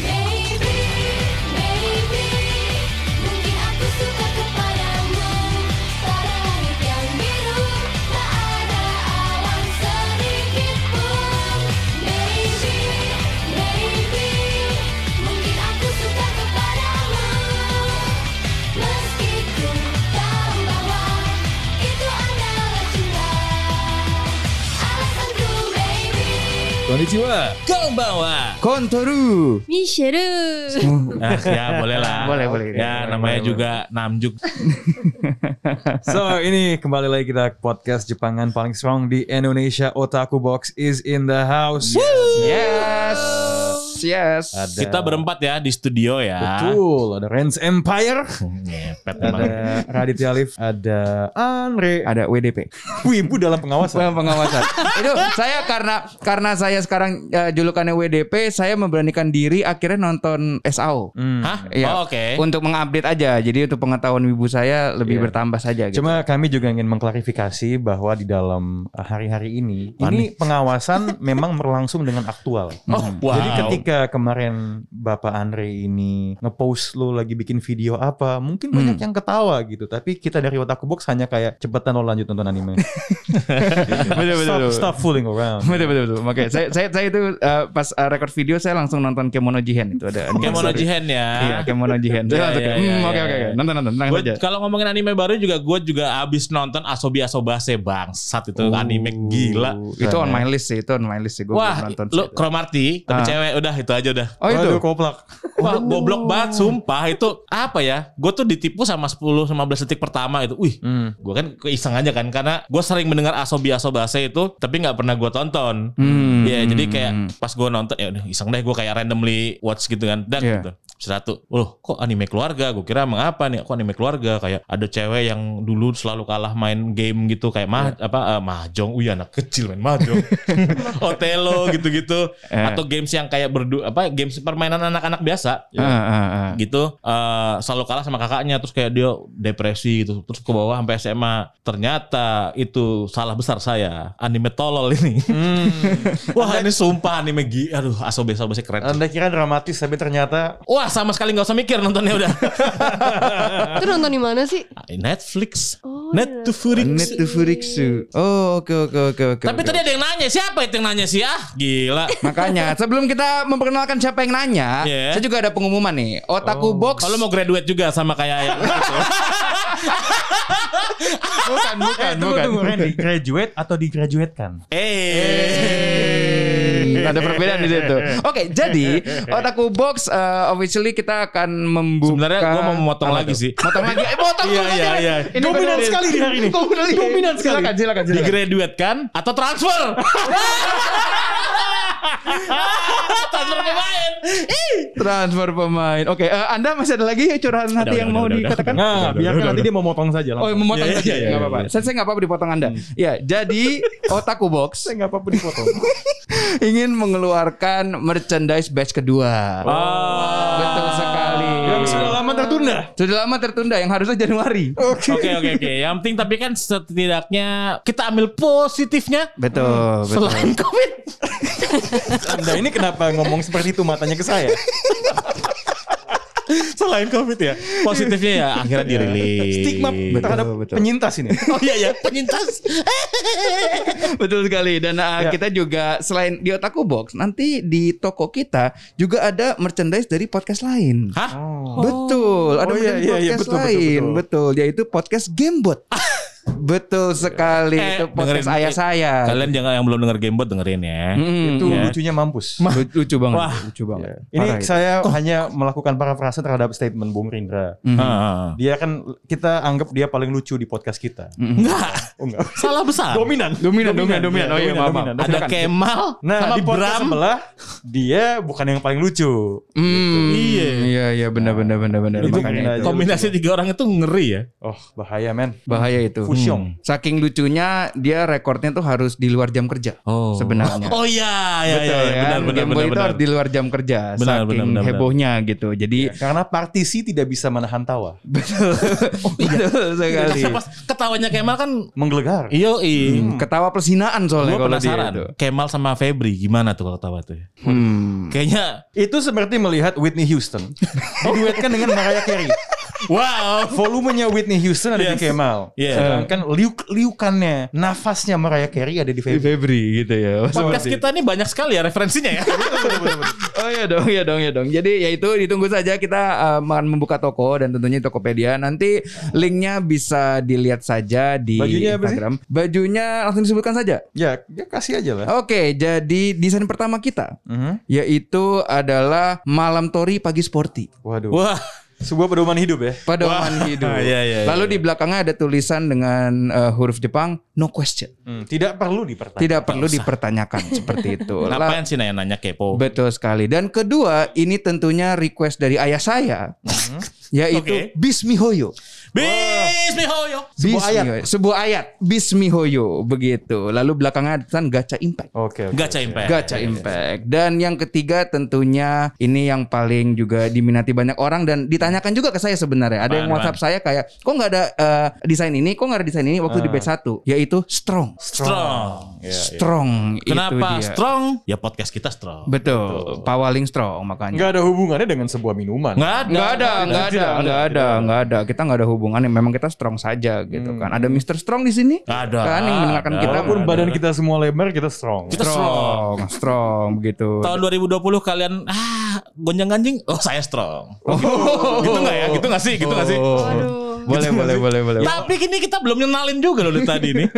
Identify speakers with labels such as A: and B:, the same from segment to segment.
A: Maybe, maybe mungkin aku suka kepadamu. Pada langit yang biru tak ada awan sedikit pun. Maybe, maybe mungkin aku suka kepadamu. Meski ku tahu bahwa itu adalah cinta, alasanku maybe.
B: Konnichiwa, konbanwa.
C: Kontoru.
D: Mishiru.
B: Ah, ya boleh lah.
C: Boleh, boleh.
B: Ya
C: Boleh,
B: namanya
C: boleh,
B: juga Namjuk.
E: So ini kembali lagi kita ke podcast Jepangan paling strong di Indonesia Otaku Box is in the house.
C: Yes. Yes.
E: Ada-
B: Kita berempat ya di studio ya.
E: Betul,
C: Ah.
E: ada Rens Empire,
B: Ngepet emang.
E: ada Raditya Alif, ada Andre, ada
C: Ada WDP.
E: Wibu dalam pengawasan.
C: Bang pengawasan. Itu saya karena karena saya sekarang eh, julukannya WDP, saya memberanikan diri akhirnya nonton SAO.
E: Hmm.
B: Hah?
C: Iya.
B: Oh, oke.
C: Untuk mengupdate aja. Jadi untuk pengetahuan wibu saya lebih
E: Iya.
C: bertambah saja gitu.
E: Cuma kami juga ingin mengklarifikasi bahwa di dalam eh, hari-hari ini, ini pengawasan memang berlangsung dengan aktual.
B: Oh, wow.
E: Jadi ketika kemarin Bapak Andre ini ngepost lu lagi bikin video apa, mungkin banyak yang
C: Hmm.
E: ketawa gitu. Tapi kita dari Otaku Box hanya kayak cepetan lo lanjut nonton anime.
C: Betul, betul,
E: stop,
C: betul.
E: stop fooling around.
C: Betul betul betul. Oke, saya saya saya itu eh, pas eh, rekor video saya langsung nonton Kemono Jihen itu ada. anime.
B: Kayak Mono Oh, Jihen
C: Iya,
B: ya.
C: Kemono Jihen. Saya
B: Iya,
C: langsung
B: iya,
C: kayak,
B: iya,
C: "Hmm, Oke
B: iya,
C: oke
B: iya.
C: oke. Nonton nonton tenang
B: Gua-
C: saja.
B: Kalau ngomongin anime baru juga gue juga abis nonton Asobi Asobase bangsat itu anime gila.
C: Itu on my list sih, itu on my list sih gue
B: Wah,
C: Oh, belum nonton. sih
B: lu
C: itu.
B: Kromarti tapi
C: Ah.
B: cewek udah itu aja udah.
C: Oh itu.
E: Aduh, koplak.
B: Wah, goblok banget sumpah itu apa ya? Gue tuh ditipu sama 10 sama 15 detik pertama itu. Wih,
E: Hmm.
B: gue kan keiseng aja kan karena gue sering mendengar asobi asobase itu tapi nggak pernah gue tonton
C: Hmm.
B: Iya, jadi kayak pas gue nonton ya udah iseng deh gue kayak randomly watch gitu kan dan
C: Iya.
B: gitu satu loh kok anime keluarga gue kira emang apa nih kok anime keluarga kayak ada cewek yang dulu selalu kalah main game gitu kayak mah
C: Iya.
B: apa eh, mahjong wih anak kecil main mahjong otelo gitu-gitu
C: Eh.
B: atau games yang kayak berdu apa games permainan anak-anak biasa
C: Ah, ah, ah.
B: gitu eh, selalu kalah sama kakaknya terus kayak dia depresi gitu terus ke bawah sampai SMA ternyata itu salah besar saya anime tolol ini wah ini sumpah anime gi aduh asobe asobe sih keren
E: Anda kira dramatis tapi ternyata
B: wah sama sekali nggak usah mikir nontonnya udah
D: Itu nonton di mana sih?
B: Netflix
D: Oh,
C: Net
B: Netflix
C: to Furiksu. Oh, oke oke oke oke.
B: tapi
C: oke.
B: tadi ada yang nanya siapa itu yang nanya sih ah gila
C: makanya sebelum kita memperkenalkan siapa yang nanya,
B: Iya.
C: saya juga ada pengumuman nih.
E: Oh.
C: Otaku Box.
B: kalau Oh, mau graduate juga sama kayak yang itu.
C: bukan bukan
E: Eh, tunggu tunggu Randy graduate atau digraduatkan?
B: eh
C: ada perbedaan di situ. Oke, jadi Otaku Box eh, officially kita akan membuka.
B: Sebenarnya gua mau memotong
C: Apa
B: lagi
C: tuh?
B: sih.
C: Motong lagi. Eh, motong
B: Iya, iya,
C: dulu aja.
B: iya.
C: Ini
E: Dominan
C: beneran.
E: sekali di hari ini.
C: Dominan,
E: Dominan sekali.
C: Silakan silakan silakan.
B: digraduatkan atau transfer transfer pemain
C: Transfer pemain. Oke, eh, Anda masih ada lagi curahan
B: udah,
C: hati yang
B: udah,
C: mau
B: udah, udah.
C: dikatakan?
E: Nah, biarkan nanti dia mau motong saja
C: Oh,
E: langsung.
C: memotong
B: Iya,
C: lagi.
B: iya, iya,
C: Nggak
B: iya,
C: apa-apa. Saya saya nggak apa-apa dipotong Anda. Ya, jadi Otaku Box
E: Saya nggak apa-apa dipotong.
C: ingin mengeluarkan merchandise batch kedua.
B: Ah. Oh.
C: Oh, Betul sekali.
E: Yang sudah lama tertunda.
C: Sudah lama tertunda yang harusnya Januari.
B: Oke oke oke. Yang penting tapi kan setidaknya kita ambil positifnya
C: Betul, Oh, betul.
B: selain covid.
E: Anda ini kenapa ngomong seperti itu matanya ke saya?
B: Selain covid ya. Positifnya ya akhirnya dirilis.
E: Stigma terhadap
C: Iya. betul.
E: penyintas ini.
B: Oh iya ya penyintas.
C: Betul sekali. Dan
E: Ya.
C: uh, kita juga selain di Otaku Box, nanti di toko kita juga ada merchandise dari podcast lain.
B: Hah?
C: Betul, ada
E: Oh, iya,
C: merchandise
E: iya, iya,
C: podcast
E: betul, betul,
C: lain. Betul,
E: betul.
C: yaitu podcast Gamebot. betul sekali
B: Eh,
C: itu podcast
B: dengerin.
C: ayah saya.
B: Kalian jangan yang belum denger gamebot dengerin ya.
C: Mm,
E: Itu
B: Ya.
E: lucunya mampus.
C: lu- lucu banget,
B: Wah.
C: lucu banget.
B: Iya.
E: Ini
C: Iya. Parah gitu. itu.
E: saya hanya melakukan parafrase terhadap statement Bung Rindra.
C: Mm-hmm.
B: Ah, ah, ah.
E: Dia kan kita anggap dia paling lucu di podcast kita.
C: Mm-hmm.
B: Enggak.
E: Oh, enggak.
B: Salah besar.
E: Dominan.
C: Dominan, dominan, dominan. Oh iya,
E: Dominan,
C: maaf.
E: dominan.
C: maaf.
B: Ada Kemal
E: Nah,
B: sama
E: di podcast
B: Bram.
E: sebelah dia bukan yang paling lucu.
C: Hmm,
B: Iya.
C: iya, iya, benar, benar, benar, benar.
E: Itu
C: Makanya
E: karena
C: itu.
E: aja.
B: Kombinasi tiga orang itu ngeri ya.
E: Oh, bahaya men.
C: bahaya itu. Hmm.
E: Full Syong.
C: Saking lucunya dia rekornya tuh harus di luar jam kerja.
B: Oh.
C: Sebenarnya.
B: Oh iya, iya, iya, iya.
C: Betul kan?
B: benar, benar,
C: Game
B: benar,
C: Boy itu
B: benar.
C: harus di luar jam kerja
B: Benar,
C: saking
B: benar, Iya. benar, benar.
C: hebohnya gitu. Jadi
B: Hmm.
E: Karena partisi tidak bisa menahan tawa.
C: betul, betul iya, sekali.
B: Pas Eh, ketawanya Kemal kan,
E: Menggelegar.
B: iyo
C: Ketawa plus hinaan
B: Gue
C: soalnya Hmm. kalau dia
B: penasaran,
C: itu.
B: Kemal sama Febri gimana tuh kalau ketawa tuh? ya?
C: Hmm.
B: Kayaknya,
E: Itu seperti melihat Whitney Houston diduetkan dengan Mariah Carey.
B: wow.
E: Volumenya Whitney Houston ada
B: Yes.
E: di Kemal.
B: Yes. Eh.
E: Sedangkan liuk liukannya, nafasnya Mariah Carey ada di Febri.
C: Febri gitu ya.
B: Podcast kita nih banyak sekali ya referensinya ya.
C: Oh iya dong, iya dong, iya dong. Jadi ya itu ditunggu saja kita eh, akan membuka toko dan tentunya Tokopedia. Nanti linknya bisa dilihat saja di
E: Bajunya apa sih?
C: Instagram. Bajunya langsung disebutkan saja.
B: Iya.
E: Ya, ya kasih aja lah.
C: Oke, jadi desain pertama kita
B: Iya.
E: Mhm.
C: yaitu adalah malam tori pagi sporty.
E: Waduh.
B: Wah,
E: Sebuah pedoman hidup ya.
C: Pedoman
B: Wah,
C: hidup.
B: iya, iya,
C: Lalu di belakangnya ada tulisan dengan eh, huruf Jepang no question.
E: Hmm, tidak perlu dipertanyakan.
C: Tidak perlu dipertanyakan seperti itu. La-
B: ngapain sih nanya-nanya kepo?
C: Betul sekali. Dan kedua, ini tentunya request dari ayah saya,
B: Oke.
C: yaitu Bismihoyo.
B: Bismihoyo.
E: Sebuah ayat.
C: Bismihoyo. Sebuah ayat. Bismihoyo begitu. Lalu belakangnya ada tulisan Gacha Impact.
E: Oke. oke.
B: Gacha Impact.
C: Gacha Impact. Dan yang ketiga tentunya ini yang paling juga diminati banyak orang dan ditanyakan juga ke saya sebenarnya. Ada yang
B: Apaan,
C: WhatsApp saya kayak, kok nggak ada eh, desain ini, kok nggak ada desain ini waktu di batch 1 yaitu Strong.
B: Strong.
C: strong itu
B: Kenapa
C: dia.
B: strong? Ya podcast kita strong.
C: Betul, pawaling strong makanya.
E: Nggak ada hubungannya dengan sebuah minuman.
B: Nggak ada.
C: Nggak ada, nggak ada,
E: Tidak ada,
C: nggak ada, nggak ada. Kita nggak ada hubungannya. Memang kita strong saja gitu kan. Ada Mr. Strong di sini.
B: Ada,
C: Kan yang mendengarkan
B: ada.
C: kita.
E: Walaupun badan kita semua lebar, kita strong.
B: Kita strong.
C: strong, strong begitu.
B: Tahun 2020 kalian ah gonjang ganjing. Oh saya strong. Gitu nggak ya? Gitu nggak sih? Gitu nggak sih?
D: Aduh,
C: Boleh, boleh, boleh, boleh.
B: Tapi kini kita belum ngenalin juga loh dari tadi nih.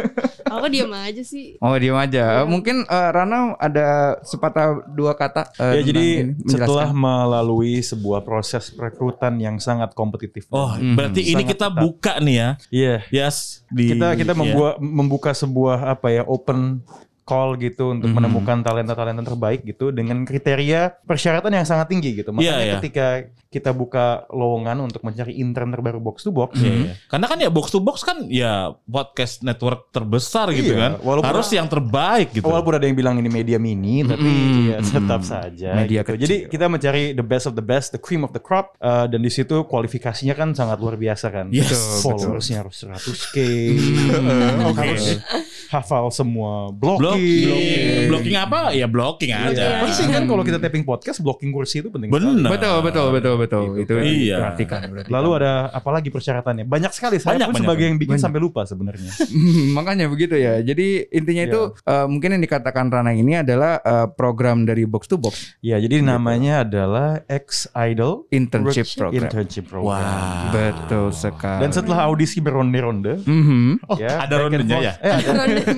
D: aku diam aja sih.
C: Oh diam aja. Mungkin eh, Rana ada sepatah dua kata.
E: Ya
C: eh, tentang ini,
E: jadi
C: menjelaskan.
E: setelah melalui sebuah proses perekrutan yang sangat kompetitif.
B: Oh berarti ini
E: sangat
B: kita
E: ketat.
B: buka nih ya.
E: Iya.
B: Yes. Di,
E: Kita kita
B: ya.
E: membuat membuka sebuah apa ya open call gitu untuk menemukan talenta-talenta terbaik gitu dengan kriteria persyaratan yang sangat tinggi gitu. Makanya
B: Iya, iya.
E: ketika kita buka lowongan untuk mencari intern terbaru box to box,
B: Iya, iya. Karena kan ya box to box kan ya podcast network terbesar gitu
E: Iya,
B: kan.
E: walaupun-
B: Harus yang terbaik gitu.
E: Walaupun ada yang bilang ini media mini, tapi
C: Mm-mm,
E: ya tetap
C: mm-mm.
E: saja.
C: Media
E: gitu.
C: kecil.
E: Jadi kita mencari the best of the best, the cream of the crop, eh, dan di situ kualifikasinya kan sangat luar biasa kan.
B: Yes.
E: Betul, Followersnya harus 100k, harus hafal semua
B: Mm. Iya. blocking.
E: blocking.
B: Blocking apa? Ya blocking aja.
E: Iya. Penting kan kalau kita tapping podcast, blocking kursi itu penting. sekali.
B: Benar.
C: Betul, betul, betul, betul. Itu
B: Iya.
C: perhatikan. perhatikan.
E: Lalu ada apalagi persyaratannya? Banyak sekali. Saya
B: Banyak,
E: pun
B: banyak.
E: sebagai yang bikin sampai lupa sebenarnya.
C: Hmm, makanya begitu ya. Jadi intinya itu eh, mungkin yang dikatakan Rana ini adalah eh, program dari box to box.
E: ya,
B: Gitu.
E: jadi namanya adalah X Idol
C: Internship
E: Work-
C: Program.
E: Internship Program.
B: Wah.
C: Betul sekali.
E: Dan setelah audisi beronde-ronde,
C: Mhm.
B: Kan. Oh,
E: ya,
B: ada
E: back and
B: rondenya
E: forth.
B: ya.
E: Eh, ada Iya.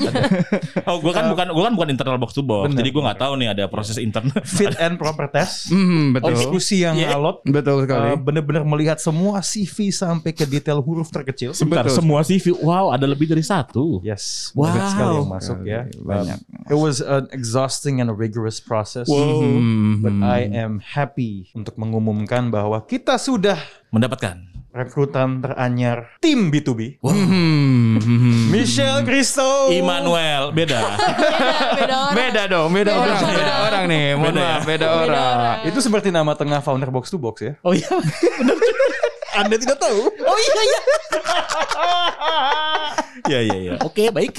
B: Oh, gua kan bukan gua kan bukan internal box to box.
E: Benar,
B: jadi gua nggak tahu nih ada proses internal.
E: fit and proper test. Oh,
C: Mhm, betul.
E: Diskusi yang
B: Iya.
E: alot.
C: betul
E: Uh,
C: sekali.
E: Bener-bener melihat semua CV sampai ke detail huruf terkecil.
B: Bentar,
C: Betul.
B: semua CV. Wow, ada lebih dari satu.
E: Yes,
B: Wow.
E: banyak sekali yang masuk ya.
C: Banyak.
E: Um, it was an exhausting and rigorous process. Mm-hmm.
B: Hmm. Mm-hmm.
C: Mhm.
E: But I am happy untuk mengumumkan bahwa kita sudah
B: Mendapatkan.
E: rekrutan teranyar tim B2B.
C: Mhm.
B: Mm-hmm.
E: Michelle Christo.
B: Oh. Immanuel, beda.
D: Beda orang.
C: Beda dong, beda, orang, beda orang nih. Mohon
B: Beda ya?
C: maaf, beda orang.
E: Itu seperti nama tengah founder Box to Box ya.
B: oh iya, benar juga. Anda tidak tahu? Oh iya iya. Iya iya iya. Oke, baik.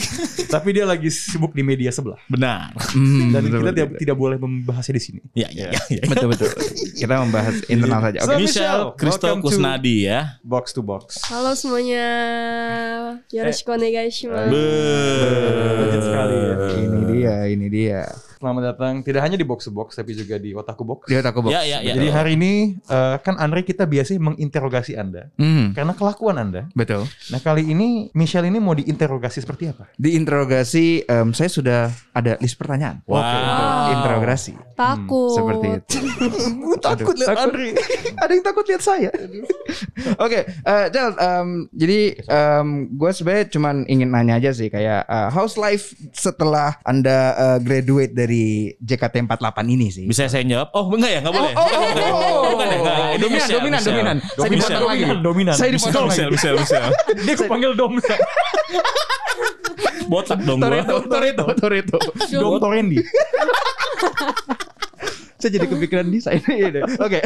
E: Tapi dia lagi sibuk di media sebelah.
B: Benar.
C: Hmm,
E: Dan
C: betul,
E: kita
C: betul,
E: tidak, tidak boleh membahasnya di sini.
C: ya,
B: Iya iya iya.
C: betul betul. Kita membahas internal saja. Oke.
E: So-
B: Michelle
E: Michelle,
B: Kristo
E: welcome to-
B: Kusnadi ya.
E: Box to Box.
D: Halo semuanya.
C: Eh.
D: Yoroshiku onegaishimasu.
E: Legend sekali ya.
C: Ini dia, ini dia.
E: Selamat datang tidak hanya di Box to Box tapi juga di Otaku Box.
C: Dia takut box.
B: Ya ya ya.
E: Jadi hari ini eh, kan Andre kita biasanya menginterogasi Anda
C: Hmm,
E: karena kelakuan Anda.
C: betul.
E: Nah kali ini Michelle ini mau diinterogasi seperti apa?
C: Diinterogasi, em, saya sudah ada list pertanyaan.
B: Wow.
C: Interogasi.
D: Takut.
C: Hmm, Seperti itu. takut lihat Andre. Ada yang takut lihat saya. Oke, eh, Del, em, jadi gue sebenarnya cuman ingin nanya aja sih kayak eh, how's life setelah anda eh, graduate dari
F: dari JKT48 ini sih?
B: Bisa saya jawab? Oh enggak ya, enggak boleh.
C: Oh, oh, oh, oh.
B: Bukan ya, enggak. Itu
C: Dominan,
B: Michelle,
C: dominan,
B: Michelle.
C: dominan.
B: Michelle.
C: Saya dipotong lagi.
E: Dominan.
C: Saya
B: Michelle,
C: dipotong lagi.
B: Michelle, Michelle, Michelle.
E: Dia aku panggil Dom.
B: Botak dong gua.
C: Toreto, Toreto, Toreto.
E: Dom Torendi.
C: Saya jadi kepikiran di saya ini. Iya Oke.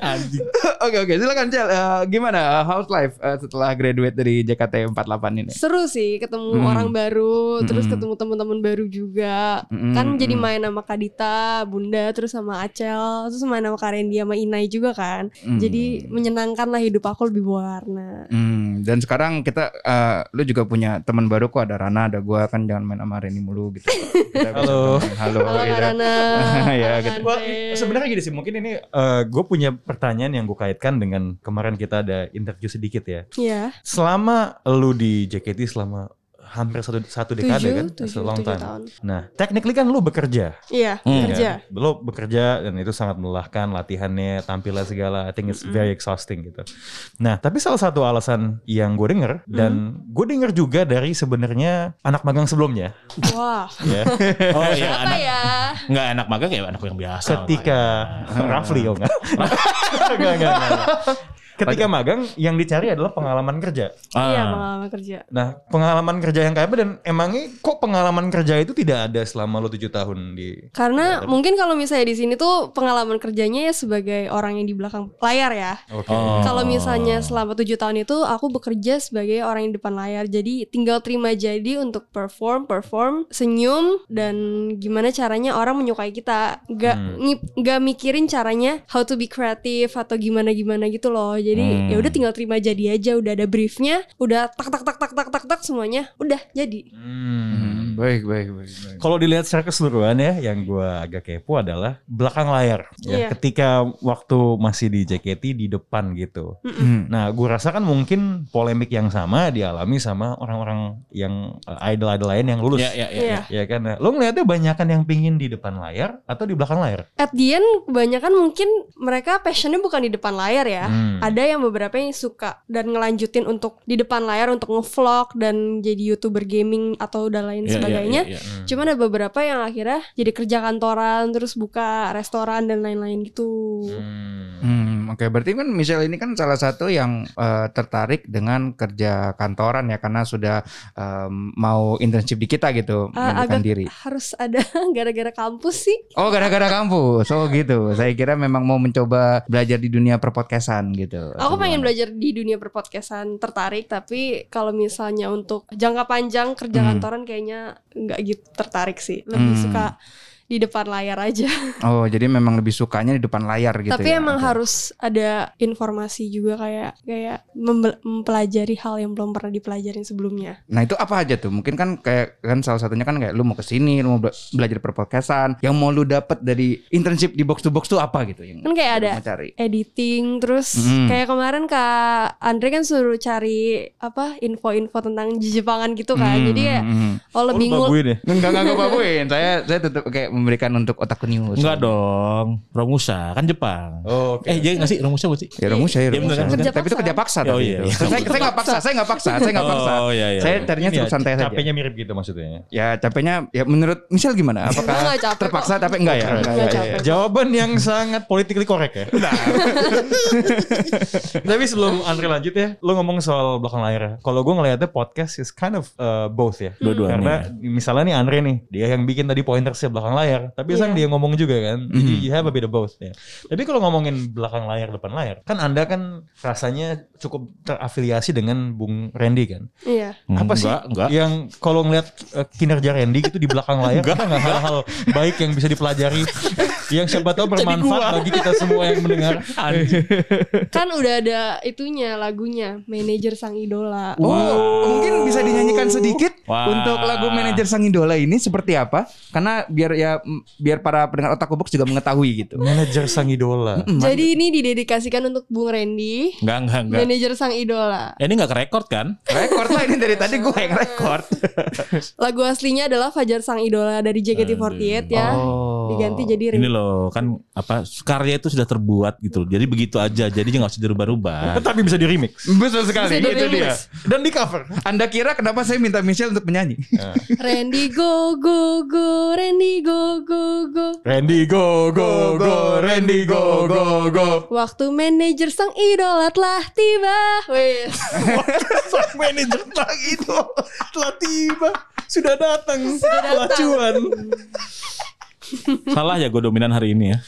B: Anjing.
C: Oke oke silakan Cel Eh, gimana eh, house life eh, setelah graduate dari JKT48 ini?
D: Seru sih ketemu
C: Mm.
D: orang baru, terus
C: Mm-mm.
D: ketemu teman-teman baru juga.
C: Mm-mm,
D: Kan jadi
C: mm-mm.
D: main sama Kadita, Bunda, terus sama Acel, terus main sama Karendi sama Inai juga kan. Jadi menyenangkan lah hidup aku lebih berwarna.
C: Hmm, dan sekarang kita eh, lu juga punya teman baru kok ada Rana ada gua kan jangan main sama Reni mulu gitu. Kita bisa
E: Halo.
C: temenan. Halo.
D: Halo
C: Ida.
D: Karana.
C: Ya,
D: Halo,
C: gitu.
E: Wah,
D: Andre.
E: sebenarnya gini sih mungkin ini gue punya pertanyaan yang gue kaitkan dengan kemarin kita ada interview sedikit ya.
D: Iya.
E: Selama lu di JKT selama hampir satu satu dekade
D: Tujuh,
E: kan,
D: tujuh,
E: That's a long
D: tujuh
E: time.
D: tahun.
E: Nah, technically kan lu bekerja,
D: Iya,
B: Hmm.
D: kerja.
E: kan? Lu bekerja dan itu sangat melelahkan latihannya, tampilan segala. I think it's very exhausting gitu. Nah, tapi salah satu alasan yang gue denger dan
D: Mm-hmm.
E: gue denger juga dari sebenarnya anak magang sebelumnya,
D: Wah,
E: ya.
B: Oh iya,
D: apa
B: anak
D: ya?
B: enggak anak magang ya anak
D: Oh
B: yang biasa.
E: ketika Rafli oh enggak. Enggak, enggak, enggak, enggak. Ketika magang yang dicari adalah pengalaman kerja.
D: Iya,
B: Ah,
D: pengalaman kerja.
E: Nah, pengalaman kerja yang kayak apa dan emangnya kok pengalaman kerja itu tidak ada selama lo 7 tahun di
D: Karena mungkin kalau misalnya di sini tuh pengalaman kerjanya ya sebagai orang yang di belakang layar ya.
E: Oke.
B: Oh.
D: Kalau misalnya selama tujuh tahun itu aku bekerja sebagai orang yang di depan layar, jadi tinggal terima jadi untuk perform, perform, senyum dan gimana caranya orang menyukai kita. Gak
B: Hmm.
D: gak mikirin caranya how to be creative atau gimana gimana gitu loh. Jadi
B: Hmm.
D: ya udah tinggal terima jadi aja. Udah ada briefnya, udah tak tak tak tak tak tak tak semuanya udah jadi.
E: Hmm.
C: Hmm, baik baik baik. baik.
E: Kalau dilihat secara keseluruhan ya, yang gua agak kepo adalah belakang layar. Ya,
D: Iya.
E: Ketika waktu masih di JKT di depan gitu.
C: Hmm.
E: Nah, gue rasa kan mungkin polemik yang sama dialami sama orang-orang yang uh, idol-idol lain yang lulus.
B: Iya, iya, iya.
D: Iya.
E: Ya kan, Nah, lo ngeliatnya banyakan yang pingin di depan layar atau di belakang layar?
D: At the end kebanyakan mungkin mereka passionnya bukan di depan layar ya.
E: Hmm.
D: ada yang beberapa yang suka dan ngelanjutin untuk di depan layar untuk ngevlog dan jadi youtuber gaming atau dan lain
B: Iya, iya,
D: sebagainya.
B: iya, iya.
E: Hmm.
D: Cuman ada beberapa yang akhirnya jadi kerja kantoran, terus buka restoran dan lain-lain gitu.
E: Hmm.
C: Hmm, oke berarti kan Michelle ini kan salah satu yang eh, tertarik dengan kerja kantoran ya karena sudah em, mau internship di kita gitu
D: Ah,
C: mengundurkan
D: agak
C: diri.
D: harus ada gara-gara kampus sih.
C: Oh gara-gara kampus, oh gitu. Saya kira memang mau mencoba belajar di dunia perpodcastan gitu.
D: Aku pengen belajar di dunia perpodcastan tertarik, tapi kalau misalnya untuk jangka panjang kerja
C: Hmm.
D: kantoran kayaknya nggak gitu tertarik sih. Lebih
C: Hmm.
D: suka di depan layar aja.
C: Oh jadi memang lebih sukanya di depan layar gitu.
D: Tapi
C: ya.
D: emang
C: Oke.
D: harus ada informasi juga kayak kayak membel- mempelajari hal yang belum pernah dipelajarin sebelumnya.
C: Nah itu apa aja tuh? Mungkin kan kayak kan salah satunya kan kayak lu mau kesini, lu mau bela- belajar perpodcastan. Yang mau lu dapat dari internship di box to box tuh apa gitu? Yang
D: Kan kayak
C: lu
D: ada
C: mau cari.
D: editing terus
C: Mm.
D: kayak kemarin Kak Andre kan suruh cari apa info-info tentang Jepangan gitu kan. Jadi kayak
C: Hmm.
D: oh lebih
E: Lu
D: ngul-
E: baguin ya?
C: Enggak enggak enggak babuin. Saya saya tetap kayak memberikan untuk otak news.
B: Enggak dong. Romusa kan Jepang.
E: Oh, oke.
B: Eh, dia nggak sih Romusa buat sih?
C: Ya rumus saya
B: Iya,
C: rumus.
B: bener,
D: kan?
C: Tapi itu kerja paksa
B: Oh, iya,
C: tadi itu.
B: iya.
C: Saya saya enggak paksa, saya enggak paksa, saya enggak paksa.
B: Oh, iya, iya.
C: Saya carinya
E: Ini
C: cukup
E: ya,
C: santai saja.
E: Capeknya mirip gitu maksudnya.
C: Ya capeknya ya menurut Michelle gimana?
D: Enggak,
C: Apakah
D: enggak capek
C: terpaksa
D: kok.
C: tapi enggak ya?
D: Enggak
C: Enggak,
D: capek.
C: iya.
E: Jawaban yang sangat politically correct ya. Tapi sebelum Andre lanjut ya, lo ngomong soal belakang layar. ya. Kalau gue ngelihatnya podcast is kind of uh, both ya.
B: Dua-duanya.
E: Karena misalnya nih Andre nih, dia yang bikin tadi pointersnya belakang layar. Tapi
C: Iya.
E: sang dia ngomong juga kan. Jadi you have a bit of both ya. Tapi kalau ngomongin belakang layar depan layar, kan Anda kan rasanya cukup terafiliasi dengan Bung Randy kan.
D: Iya.
E: Apa sih
B: Enggak, enggak.
E: yang kalau ngelihat uh, kinerja Randy gitu di belakang layar ada nggak hal-hal baik yang bisa dipelajari yang siapa tahu bermanfaat bagi kita semua yang mendengar.
D: Kan udah ada itunya lagunya manajer sang idola.
C: Oh, mungkin bisa dinyanyikan sedikit
B: Wah.
C: untuk lagu manajer sang idola ini seperti apa? Karena biar ya mm, biar para pendengar otak kubuk juga mengetahui gitu.
E: Manajer sang idola.
D: Jadi ini didedikasikan untuk Bung Randy,
B: Enggak, enggak, enggak.
D: manajer sang idola.
B: Eh, ini enggak kerekord kan?
C: Rekor lah ini dari tadi gue yang rekor.
D: Lagu aslinya adalah Fajar Sang Idola dari JKT48 ya.
C: Oh.
D: Diganti jadi
B: Ini loh, kan apa karya itu sudah terbuat gitu. Jadi begitu aja. Jadi nggak usah dirubah-rubah.
E: Nah. Tapi bisa di remix.
C: Betul sekali
D: Bisa
C: itu dia.
D: di-remix.
C: Dan di cover. Anda kira kenapa saya minta Michelle untuk menyanyi?
D: Randy go go go Randy go go go go.
E: Randy go go go Randy go go go
D: Waktu manajer sang idola telah tiba. Wes.
B: Sang manajer tak itu telah tiba. Sudah datang pelacuan. Salah ya gue dominan hari ini ya.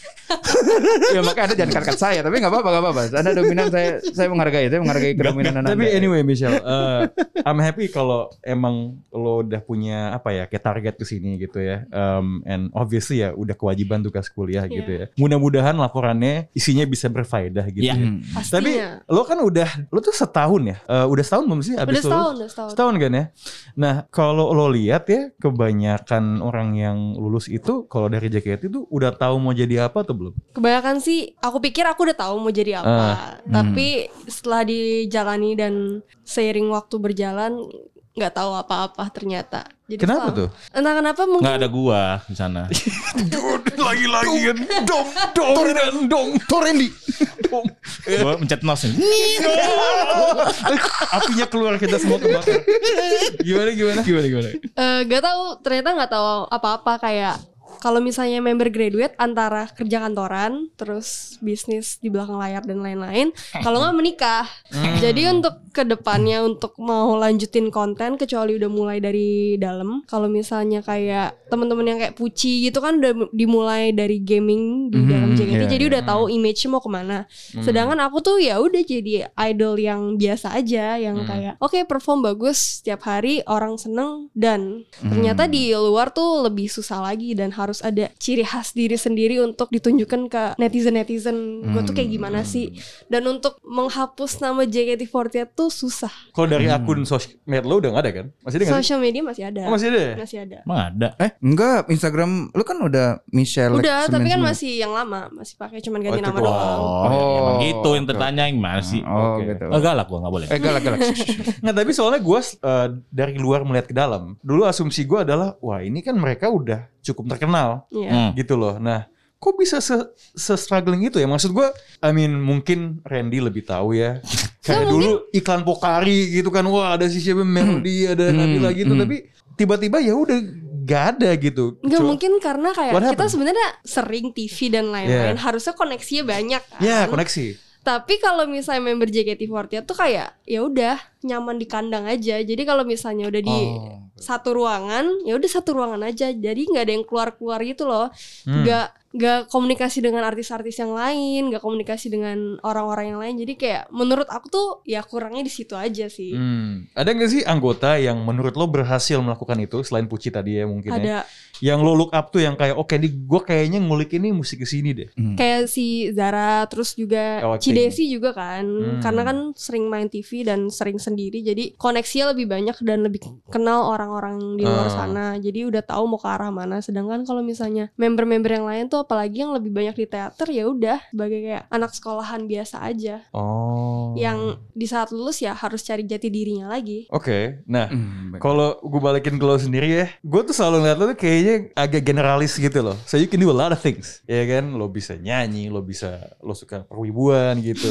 C: ya makanya anda jangan kat saya tapi nggak apa-apa nggak apa-apa anda dominan saya saya menghargai saya menghargai kedominan anda
E: Tapi anyway Michelle, eh, I'm happy kalau emang lo udah punya apa ya kayak target ke sini gitu ya. Um, and obviously ya udah kewajiban tugas kuliah
D: Iya.
E: gitu ya. Mudah-mudahan laporannya isinya bisa berfaedah gitu. ya.
B: Iya.
C: Hmm.
E: Tapi
D: Pastinya.
E: lo kan udah lo tuh setahun ya. Eh, udah setahun belum sih
D: udah
E: abis lo
D: setahun, udah setahun.
E: setahun kan ya. Nah kalau lo lihat ya kebanyakan orang yang lulus itu kalau dari JKT itu udah tahu mau jadi apa atau belum?
D: Kebanyakan sih aku pikir aku udah tahu mau jadi
E: Ah,
D: apa,
E: hmm.
D: tapi setelah dijalani dan seiring waktu berjalan nggak tahu apa-apa ternyata. Jadi
E: Kenapa
D: setelah-
E: tuh?
D: Entah kenapa mungkin
B: Nggak ada gua di sana.
E: Lagi-lagi dong dong dong dong
C: Oh,
F: Torendi.
B: Gua mencet nos ini.
E: apinya keluar kita semua kebakar. Gimana gimana? Gimana gimana?
D: Eh, nggak tahu ternyata nggak tahu apa-apa kayak kalau misalnya member graduate antara kerja kantoran terus bisnis di belakang layar dan lain-lain kalau nggak menikah jadi untuk kedepannya untuk mau lanjutin konten kecuali udah mulai dari dalam kalau misalnya kayak teman-teman yang kayak Puci gitu kan udah dimulai dari gaming di dalam JKT
C: iya,
D: jadi
E: Hmm.
D: udah tahu image mau kemana sedangkan aku tuh ya udah jadi idol yang biasa aja
E: Hmm.
D: yang kayak oke perform bagus setiap hari orang seneng dan
E: Hmm.
D: ternyata di luar tuh lebih susah lagi dan harus ada ciri khas diri sendiri untuk ditunjukkan ke netizen netizen gue tuh kayak
E: Hmm.
D: gimana sih dan untuk menghapus nama JKT48 tuh susah
E: Kalau dari akun sosmed lo udah nggak ada kan? Masih ada nggak? sih?
D: social media masih ada
E: Oh, masih ada. ya?
D: masih ada
B: Emang ada.
C: eh enggak Instagram lu kan udah Michelle
D: udah tapi kan
C: 99.
D: masih yang lama masih pakai cuman ganti
E: Oh, itu
D: nama
E: doang.
D: doang
B: Oh, emang
C: Oh,
B: gitu yang
C: oke,
B: tertanya gimana sih?
C: oh
E: Oke.
C: gitu
B: Oh, galak gua nggak boleh.
C: eh galak galak
E: Nggak tapi soalnya gue dari luar melihat ke dalam. Dulu asumsi gue adalah wah ini kan mereka udah cukup terkenal
D: Iya.
B: Hmm.
E: gitu loh. Nah kok bisa se, struggling itu ya? Maksud gue, I mean mungkin Randy lebih tahu ya. Kayak
D: mungkin-
E: dulu iklan Pokari gitu kan, wah ada si siapa Melody, ada Nabila gitu.
C: hmm.
E: Tapi tiba-tiba ya udah gak ada gitu.
D: Enggak
E: Cuma-
D: mungkin karena kayak
E: What
D: kita
E: happened?
D: sebenarnya sering TV dan lain-lain harusnya koneksinya banyak kan.
E: Ya koneksi.
D: Tapi kalau misalnya member JKT48 tuh kayak ya udah nyaman di kandang aja. Jadi kalau misalnya udah
E: Oh,
D: di satu ruangan, ya udah satu ruangan aja. Jadi nggak ada yang keluar-keluar gitu loh.
E: Hmm.
D: Nggak nggak komunikasi dengan artis-artis yang lain, nggak komunikasi dengan orang-orang yang lain. Jadi kayak menurut aku tuh ya kurangnya di situ aja sih.
E: Hmm. Ada nggak sih anggota yang menurut lo berhasil melakukan itu selain Puci tadi ya mungkin ya?
D: Ada
E: Yang lo look up tuh yang kayak oke nih gue kayaknya ngulik ini musik ke sini deh.
D: kayak si Zara terus juga
E: Oh, acting.
D: Cidesi juga kan
E: Hmm.
D: karena kan sering main TV dan sering sendiri jadi koneksinya lebih banyak dan lebih kenal orang-orang di luar
E: Ah.
D: sana jadi udah tahu mau ke arah mana sedangkan kalau misalnya member-member yang lain tuh apalagi yang lebih banyak di teater ya udah sebagai kayak anak sekolahan biasa aja
E: Oh.
D: yang di saat lulus ya harus cari jati dirinya lagi
E: Oke, nah
C: Hmm,
E: kalau gue balikin ke lo sendiri ya, gue tuh selalu ngeliat lo tuh kayaknya agak generalis gitu loh. So you can do a lot of things, ya kan? Lo bisa nyanyi, lo bisa, lo suka perwibuan gitu,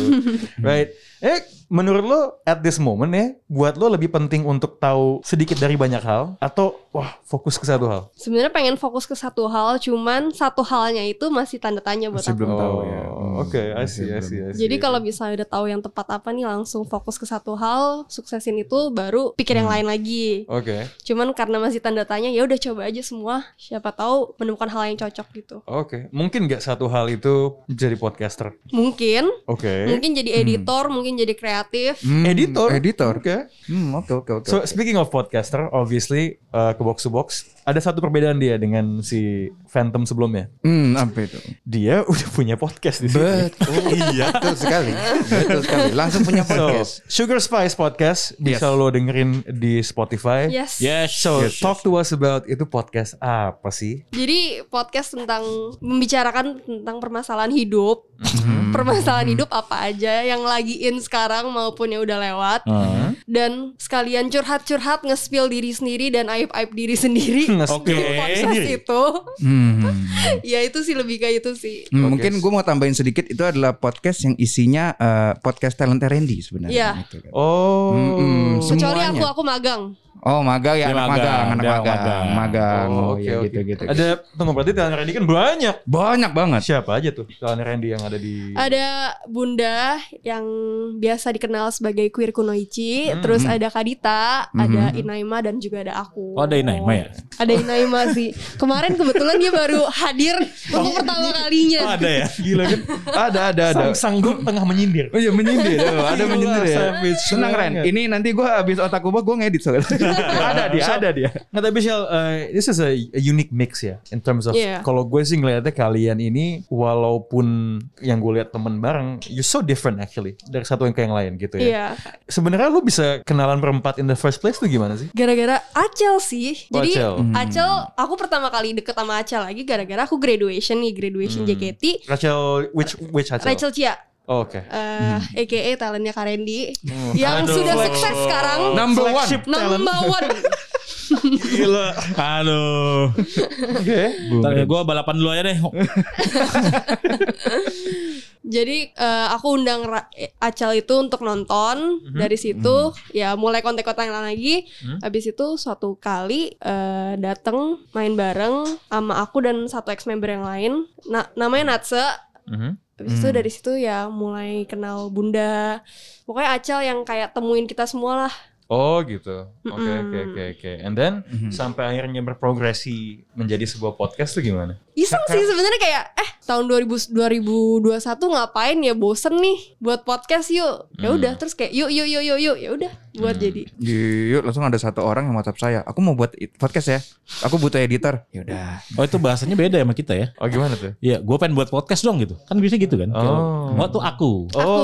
E: right? Eh, menurut lo at this moment ya, buat lo lebih penting untuk tahu sedikit dari banyak hal atau wah fokus ke satu hal?
D: sebenarnya pengen fokus ke satu hal cuman satu halnya itu masih tanda tanya buat
C: Masih
D: aku
C: belum tahu ya
E: Oh, Oke, I see, I see, I see.
D: Jadi kalau misalnya udah tahu yang tepat apa nih langsung fokus ke satu hal, suksesin itu baru pikir yang lain lagi.
E: Oke.
D: Cuman karena masih tanda tanya ya udah coba aja semua, siapa tahu menemukan hal yang cocok gitu.
E: Oke, mungkin nggak satu hal itu jadi podcaster.
D: Mungkin,
E: Oke.
D: mungkin jadi editor, mungkin jadi kreatif.
C: Hmm,
E: Editor.
C: editor
E: Oke.
C: Hmm, oke oke oke
E: So speaking of podcaster, obviously uh, ke box to box ada satu perbedaan dia dengan si Phantom sebelumnya.
C: hmm apa itu
E: Dia udah punya podcast di sini.
C: betul iya betul sekali betul sekali langsung punya
E: So,
C: podcast
E: Sugar Spice podcast bisa
C: Yes.
E: lo dengerin di Spotify.
D: Yes.
B: Yes.
E: So
B: yes, yes.
E: talk to us about itu podcast apa sih?
D: Jadi podcast tentang membicarakan tentang permasalahan hidup, permasalahan hidup apa aja yang lagi in sekarang maupun yang udah lewat,
B: Hmm.
D: dan sekalian curhat-curhat nge-spill diri sendiri dan aib-aib diri sendiri. Di
B: Oke.
D: podcast itu,
C: Hmm.
D: ya itu sih lebih kayak itu sih.
C: Hmm, Mungkin gue mau tambahin sedikit itu adalah podcast yang isinya eh, podcast talent Randy sebenarnya.
D: Iya.
C: Gitu kan.
E: Oh.
C: Mm-mm.
D: Kecuali
C: Semuanya.
D: aku aku magang.
C: Oh magang
B: Dia
C: ya anak
B: magang,
C: magang anak
B: dia anak
C: magang
B: magang.
C: magang
E: Oh,
C: oh,
E: oke,
C: iya
E: oke.
C: gitu gitu
E: Ada tunggu berarti talent Randy kan banyak.
C: banyak banget
E: Siapa aja tuh talent Randy yang ada
B: Iya.
E: di
D: Ada Bunda yang biasa dikenal sebagai queer kunoichi,
B: Hmm,
D: terus ada Kadita, ada Inaima dan juga ada aku.
B: Oh ada Inaima ya?
D: Ada Inaima sih. Kemarin kebetulan dia baru hadir untuk pertama kalinya.
B: Oh ada ya?
E: Gila kan
C: ada ada ada
E: sang sanggup tengah menyindir.
C: Oh iya menyindir aduh, ada
E: Gila,
C: menyindir ya
E: savage
C: tenang Ren
E: banget.
C: ini nanti gue habis otak gue gue ngedit soalnya ada dia ada dia
E: Nah tapi Shell, uh, this is a, a unique mix ya in terms of
D: Yeah.
E: kalau gue sih ngeliatnya kalian ini walaupun yang gue lihat temen bareng, you so different actually dari satu yang ke yang lain gitu ya.
D: Iya,
E: Sebenarnya lu bisa kenalan berempat in the first place tuh gimana sih?
D: gara-gara Acel sih.
E: Oh,
D: Jadi
E: Acel.
B: Hmm.
D: Acel. aku pertama kali deket sama Acel lagi gara-gara aku graduation nih, graduation
B: Hmm.
D: JKT.
E: Rachel, which which Rachel?
D: Rachel Chia,
E: Oh, Oke.
D: eh,
B: Hmm.
D: aka talentnya Karendi, yang sudah sukses sekarang.
B: Nah,
C: number one
D: Number one.
B: Gila. Aduh. Oke. Gue ya, balapan dulu aja deh.
D: Jadi eh, aku undang Ra- eh, Acal itu untuk nonton dari situ ya mulai kontak-kontakan lagi. Habis itu suatu kali eh, dateng main bareng sama aku dan satu ex member yang lain. Na- namanya Natse.
C: Mm-hmm.
D: Habis itu dari situ ya mulai kenal Bunda. Pokoknya Acal yang kayak temuin kita semua lah.
E: Oh gitu. Oke
D: Mm-mm.
E: oke oke oke. And then
C: Mm-hmm.
E: sampai akhirnya berprogresi menjadi sebuah podcast tuh gimana?
D: Iseng sih sebenarnya kayak eh tahun 2000 2021 ngapain ya bosen nih buat podcast yuk. Ya udah terus kayak yuk yuk yuk yuk yuk ya udah buat jadi.
C: Yuk langsung ada satu orang yang WhatsApp saya. Aku mau buat it- podcast ya. Aku butuh editor. Yaudah.
B: Oh itu bahasanya beda ya sama kita ya?
E: Oh gimana tuh?
B: Iya, gue pengen buat podcast dong gitu. Kan biasanya gitu kan. Kayak,
E: Oh.
B: Oh, tuh aku.
D: Aku.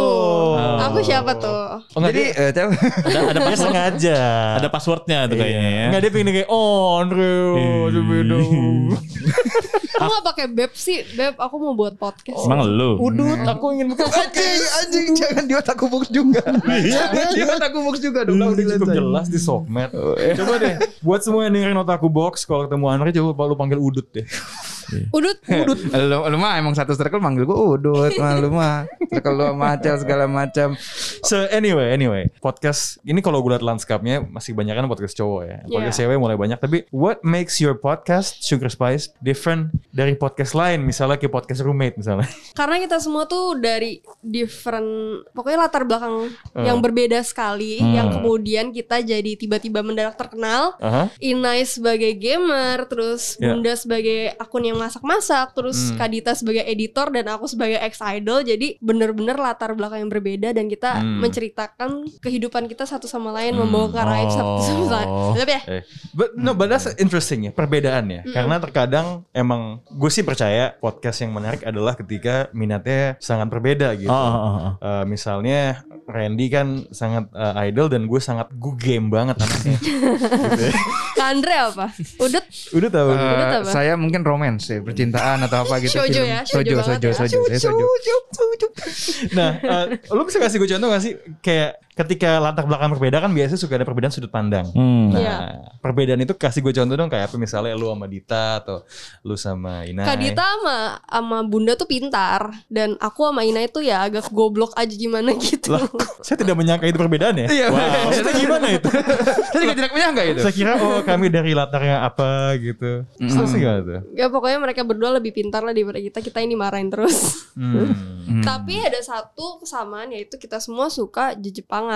D: Aku siapa tuh?
E: Oh, enggak,
C: Jadi
E: Jadi
C: eh, cewek-
B: Ada, ada
E: dia
B: password.
E: sengaja.
B: ada passwordnya tuh kayaknya ya.
E: Enggak dia pengen kayak oh Andrew, aduh, beda.
D: Aku gak pakai beb sih. Beb, aku mau buat podcast.
B: Emang lu?
E: Udut, aku ingin buka
F: Anjing, anjing jangan di otak kubuk juga.
C: Iya.
F: jangan di otak kubuk juga dong.
E: Udah
F: Udah,
E: udah cukup
F: selesai.
E: jelas di sokmed. Coba deh, buat semua yang dengerin otakku box, kalau ketemu Andre coba lu panggil Udut deh.
D: Udut, udut.
C: lu, lu mah emang satu circle manggil gue udut mah lu mah. Circle lu sama Acel segala macam.
E: So anyway, anyway, podcast ini kalau gue liat landscape-nya masih banyak kan podcast cowok ya. Podcast
D: Yeah.
E: cewek mulai banyak. Tapi what makes your podcast Sugar Spice different dari podcast lain? Misalnya kayak podcast roommate misalnya.
D: Karena kita semua tuh dari different, pokoknya latar belakang yang berbeda sekali, yang kemudian kita jadi tiba-tiba mendadak terkenal.
E: Aha.
D: Inai sebagai gamer, terus
E: Yeah.
D: Bunda sebagai akun yang masak-masak, terus Kadita sebagai editor dan aku sebagai ex idol. Jadi bener-bener latar belakang yang berbeda dan kita menceritakan kehidupan kita satu sama lain, membawa ke raib satu sama lain. Betul ya?
E: Eh, But no, but that's interesting ya perbedaannya. Karena terkadang emang gue sih percaya podcast yang menarik adalah ketika minatnya sangat berbeda gitu.
B: Oh, oh, oh, oh.
E: Eh, misalnya Randy kan sangat eh, idol dan gue sangat gue game banget anaknya.
D: Kandre apa? Udut?
E: Udah tahu.
C: Eh,
D: Udut apa?
C: saya mungkin romance ya, percintaan atau apa gitu.
D: Shoujo
C: Film.
D: ya, shoujo
C: shoujo,
D: banget
C: shoujo,
D: ya.
C: shoujo, saya shoujo.
E: Nah, eh, lo bisa kasih gue contoh gak sih kayak ketika latar belakang berbeda kan biasanya suka ada perbedaan sudut pandang.
B: Hmm.
E: Nah,
D: Iya.
E: perbedaan itu kasih gue contoh dong kayak apa misalnya lu sama Dita atau lu sama Ina.
D: Kak Dita sama, sama Bunda tuh pintar dan aku sama Ina itu ya agak goblok aja gimana gitu.
E: Lah, saya tidak menyangka itu perbedaan ya.
C: Iya.
E: Wow, maksudnya gimana itu?
C: Saya juga tidak menyangka itu.
E: saya kira oh kami dari latarnya apa gitu. Terus gimana tuh?
D: Ya pokoknya mereka berdua lebih pintar lah daripada kita. Kita ini marahin terus.
C: Mm.
E: Hmm.
D: Tapi ada satu kesamaan yaitu kita semua suka jejepangan.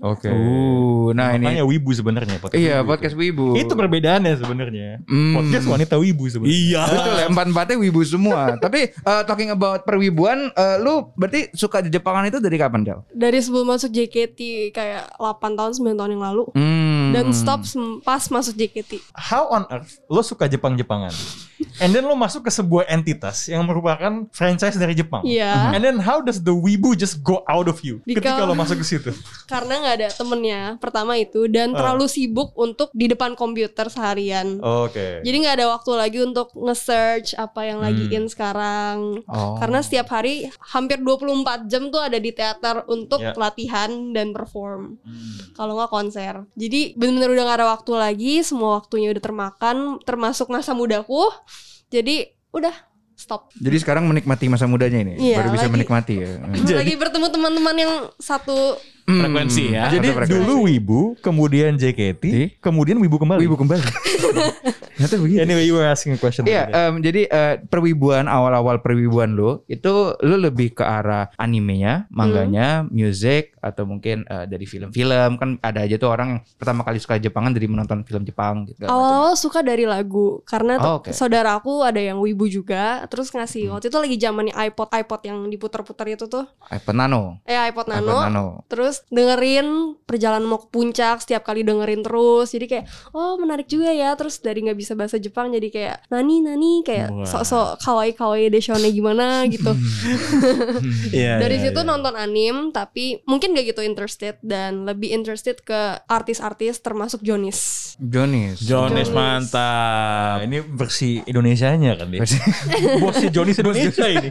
E: Oke.
C: Uh, nah ini.
E: Makanya wibu sebenarnya podcast.
C: Iya,
E: wibu
C: podcast
E: itu.
C: wibu.
E: Itu perbedaannya sebenarnya.
C: Hmm.
E: Podcast wanita wibu sebenarnya.
B: Iya.
C: Betul ya, empat-empatnya wibu semua. Tapi eh, talking about perwibuan, eh, lu berarti suka Jepangan itu dari kapan, Del?
D: Dari sebelum masuk JKT kayak 8 tahun 9 tahun yang lalu
C: Hmm.
D: dan stop sem- pas masuk JKT.
E: How on earth lo suka Jepang-Jepangan? And then lo masuk ke sebuah entitas yang merupakan franchise dari Jepang.
D: Iya.
E: And then how does the wibu just go out of you
D: Because-
E: ketika lo masuk ke situ?
D: Karena nggak ada temennya pertama itu dan
E: Oh.
D: terlalu sibuk untuk di depan komputer seharian.
E: Oke.
D: Jadi nggak ada waktu lagi untuk nge-search apa yang lagi in sekarang. Karena setiap hari hampir 24 jam tuh ada di teater untuk
E: Ya.
D: latihan dan perform. Kalau nggak konser. Jadi bener-bener udah nggak ada waktu lagi, semua waktunya udah termakan, termasuk masa mudaku. Jadi udah stop.
C: Jadi sekarang menikmati masa mudanya ini,
D: Iya,
C: baru bisa
D: lagi-
C: menikmati ya.
D: Lagi bertemu teman-teman yang satu
B: frekuensi ya.
E: Jadi
C: Satu frekuensi.
E: dulu Wibu, kemudian JKT,
C: Di?
E: kemudian Wibu kembali.
C: Wibu kembali. Ternyata begitu.
E: Anyway, you were asking a question.
C: Iya, em, jadi eh, perwibuan awal-awal perwibuan lo itu lo lebih ke arah animenya,
D: Hmm.
C: mangganya, music atau mungkin eh, dari film-film kan ada aja tuh orang yang pertama kali suka Jepangan dari menonton film Jepang gitu. segala macam.
D: Awal-awal suka dari lagu karena
C: Oh,
D: t-
C: oke.
D: saudara aku ada yang wibu juga, terus ngasih waktu itu lagi zamannya iPod iPod yang diputer-puter itu tuh,
C: iPhone Nano.
D: eh iPod Nano.
C: iPhone Nano.
D: Terus dengerin perjalanan mau ke puncak setiap kali dengerin terus, jadi kayak oh menarik juga ya. Terus dari nggak bisa bahasa Jepang jadi kayak nani nani kayak
B: Wah.
D: sok-sok kawaii kawaii deshone gimana gitu.
E: Ya,
B: Iya,
D: dari
B: iya,
D: situ
B: iya.
D: nonton anim tapi mungkin gak gitu interested dan lebih interested ke artis-artis termasuk Jonis.
C: Jonis.
B: Jones
D: Jones.
E: Nah,
B: mantap.
E: ini versi Indonesianya kan dia. Bosnya Johnny Indonesia ini.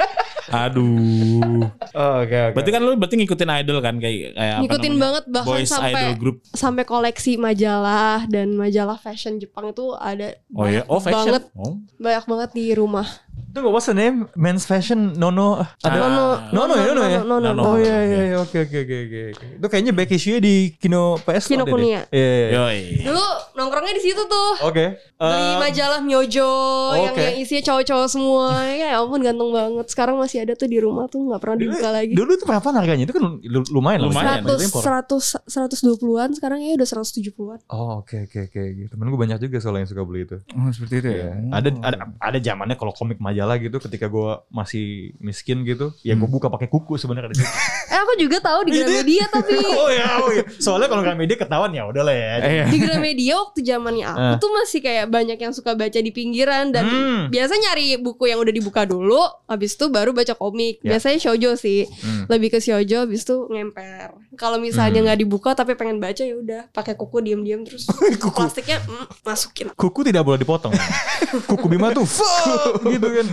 B: Aduh.
C: Oh, oke oke.
B: Berarti kan lu berarti ngikutin idol kan kayak kayak apa
D: ngikutin
B: namanya?
D: banget bahkan
B: Boys
D: sampai
B: idol group.
D: sampai koleksi majalah dan majalah fashion Jepang itu ada
B: Oh
E: iya?
B: ya, oh fashion.
D: banget
B: Oh.
D: banyak banget di rumah.
E: Tunggu, what's the name? Men's Fashion Nono. Ada
B: Ah.
E: No, no, no, no, ya?
D: no, no,
B: No,
D: no.
B: no.
E: Oh iya iya iya. oke oke oke oke. oke. Itu kayaknya back issue-nya di Kino PS tuh ada deh.
D: Kinokuniya.
E: Iya iya. iya.
B: Yoi.
D: Dulu nongkrongnya di situ tuh.
E: Oke.
D: Beli
E: Eh,
D: majalah Myojo yang,
E: oke.
D: yang isinya cowok-cowok semua. Ya ampun ganteng banget. Sekarang masih ada tuh di rumah tuh nggak pernah dibuka lagi.
E: Dulu tuh berapa harganya? Itu kan lu- lumayan lah.
B: Lumayan.
E: Banyak
D: 100
E: impor.
D: 100 120-an sekarang ya udah 170-an.
E: Oh oke oke oke. Temen gue banyak juga soalnya yang suka beli itu.
C: Oh, seperti itu ya.
E: Ada ada ada zamannya kalau komik majalah gitu ketika gue masih miskin gitu, ya gue buka pakai kuku sebenarnya. di situ.
D: Eh aku juga tahu di
E: Iya.
D: Gramedia tapi
E: oh ya, oh ya. Soalnya kalau nggak media ketahuan ya udah lah ya.
C: Eh, iya.
D: di Gramedia waktu zamannya aku tuh masih kayak banyak yang suka baca di pinggiran dan
E: Eh. Hmm.
D: biasa nyari buku yang udah dibuka dulu habis itu baru baca komik
E: Ya.
D: biasanya shoujo sih
E: Hmm.
D: lebih ke shoujo habis itu ngemper kalau misalnya nggak dibuka tapi pengen baca ya udah pakai kuku diam-diam terus plastiknya mm, masukin
E: kuku tidak boleh dipotong. kuku Bima tuh fuck gitu kan.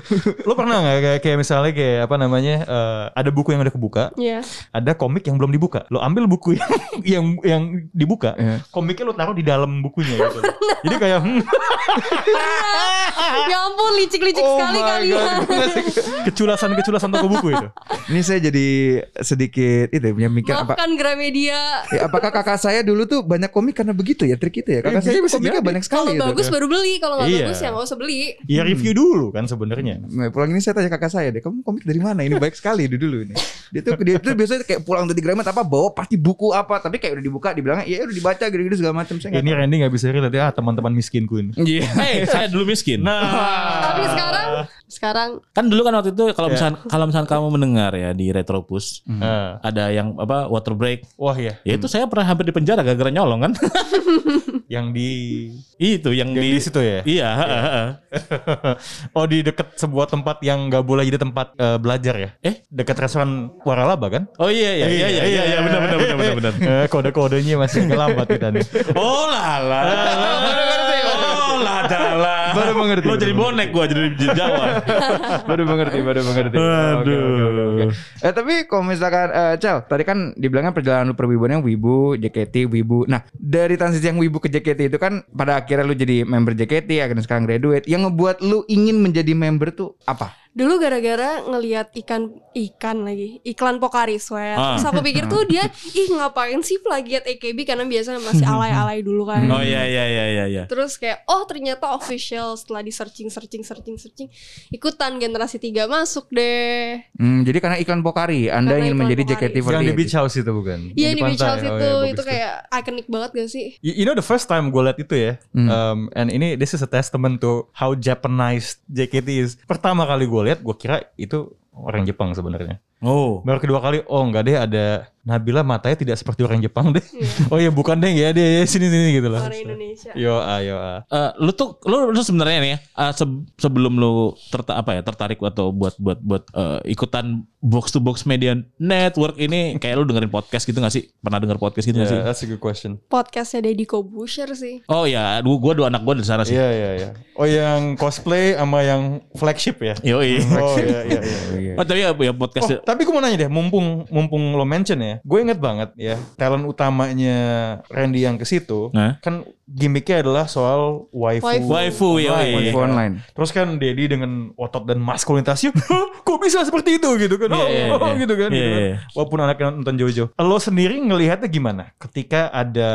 E: Lo pernah nggak kayak, kayak misalnya kayak apa namanya eh, ada buku yang udah kebuka,
D: ya
E: ada komik yang belum dibuka. Lo ambil buku yang yang yang dibuka,
C: Iya.
E: komiknya lo taruh di dalam bukunya gitu. Jadi kayak hmm,
D: ya ampun licik-licik
C: Oh
E: Oh
D: sekali kali ya
E: keculasan-keculasan toko buku itu.
C: Ini saya jadi sedikit itu ya, punya mikir apa
D: maafkan Gramedia
C: Ya, apakah kakak saya dulu tuh banyak komik karena begitu ya trik itu ya? Kakak
E: Eh,
C: saya
E: bisa
C: komiknya
E: jadi.
C: banyak
D: kalau
C: sekali gitu. itu.
D: bagus baru beli kalau nggak
E: ya, Iya.
D: bagus ya nggak usah beli
E: Ya review dulu kan sebenarnya.
C: Nah, pulang ini saya tanya kakak saya deh, kamu komik dari mana? Ini baik sekali dia dulu ini. Dia tuh dia tuh biasanya kayak pulang dari Gramet apa bawa pasti buku apa, tapi kayak udah dibuka dibilangnya iya udah dibaca gitu-gitu segala macam. Saya
E: Ini
C: enggak.
E: Randy nggak bisa relate ah teman-teman miskinku ini.
C: Iya.
B: Hey, saya dulu miskin.
E: Nah.
D: tapi
E: Ah.
D: sekarang sekarang
B: Kan dulu kan waktu itu kalau
E: Ya.
B: misalkan kalau misalkan kamu mendengar ya di Retropus
E: Eh,
B: ada yang apa water break.
E: wah ya,
B: Ya itu saya pernah hampir di penjara gara-gara nyolong kan.
E: yang di
B: itu yang,
E: yang
B: di,
E: di situ ya.
B: Iya, heeh, heeh.
E: oh di dekat sebuah tempat yang nggak boleh jadi tempat eh, belajar ya?
B: Eh?
E: dekat restoran waralaba kan?
B: Oh iya iya iya iya iya, iya benar benar benar benar benar.
E: Eh, Kode-kodenya masih agak lambat kita nih.
B: Oh
E: Ah,
B: lala. Oh lala.
E: Baru mengerti,
B: Lo
E: baru
B: jadi bonek gua jadi jadi Jawa.
C: baru mengerti, baru mengerti. Oke, oke, oke, oke.
B: Aduh.
C: Eh tapi kalau misalkan eh, Cel, tadi kan dibilangnya perjalanan lu perwibuannya Wibu, JKT, Wibu. Nah, dari transisi yang Wibu ke JKT itu kan pada akhirnya lu jadi member JKT, akhirnya sekarang graduate. Yang ngebuat lu ingin menjadi member tuh apa?
D: Dulu gara-gara ngelihat ikan ikan lagi iklan Pokari Sweat.
B: Ah.
D: Terus aku pikir tuh dia ih ngapain sih plagiat AKB karena biasanya masih alay-alay dulu kan.
E: Nah.
B: Oh iya iya iya iya iya.
D: Terus kayak oh ternyata official setelah di searching searching searching searching ikutan generasi 3 masuk deh.
C: Hmm, jadi karena iklan Pokari, Anda
D: Karena
C: ingin
D: iklan
C: menjadi
D: Pokari.
C: JKT48.
E: yang di beach house itu bukan?
D: Iya
E: Yang
D: di Beach
E: pantai.
D: House itu
E: Oh, iya, bagus
D: itu
E: tuh.
D: kayak ikonik banget gak sih?
E: You you know the first time gue liat itu ya, um, and ini this is a testament to how Japanized JKT is. Pertama kali gue liat, gue kira itu orang Jepang sebenarnya.
B: Oh.
E: Baru kedua kali, oh enggak deh ada Nabila matanya tidak seperti orang Jepang deh. oh iya bukan deh ya dia ya, sini sini gitu lah.
D: Orang Indonesia.
E: Yo ah yo ah.
B: Eh, lu tuh lu, lu sebenarnya nih ya eh, se- sebelum lu terta apa ya tertarik atau buat buat buat eh, ikutan box to box media network ini kayak lu dengerin podcast gitu gak sih pernah denger podcast gitu gak sih
E: Yeah, that's a good question.
D: Podcastnya Deddy Kobusher sih.
B: oh ya gua gua dua anak gua dari sana sih
E: Iya iya iya. Oh yang cosplay sama yang flagship ya.
B: Yoi.
E: Oh iya iya iya.
B: oh tapi ya, ya podcast
E: Oh, tapi gue mau nanya deh, mumpung mumpung lo mention ya, gue inget banget ya talent utamanya Randy yang ke situ,
B: Nah.
E: kan gimmicknya adalah soal waifu.
D: Waifu.
B: Waifu ya. weh.
C: Waifu online.
E: Terus kan Dedi dengan otot dan maskulinitasnya, "Hah, kok bisa seperti itu gitu kan?
B: Iya, iya,
E: Oh, oh,
B: iya.
E: gitu kan? gitu
B: Iya,
E: kan.
B: iya.
E: Walaupun anaknya nonton Jojo. Lo sendiri ngelihatnya gimana? Ketika ada,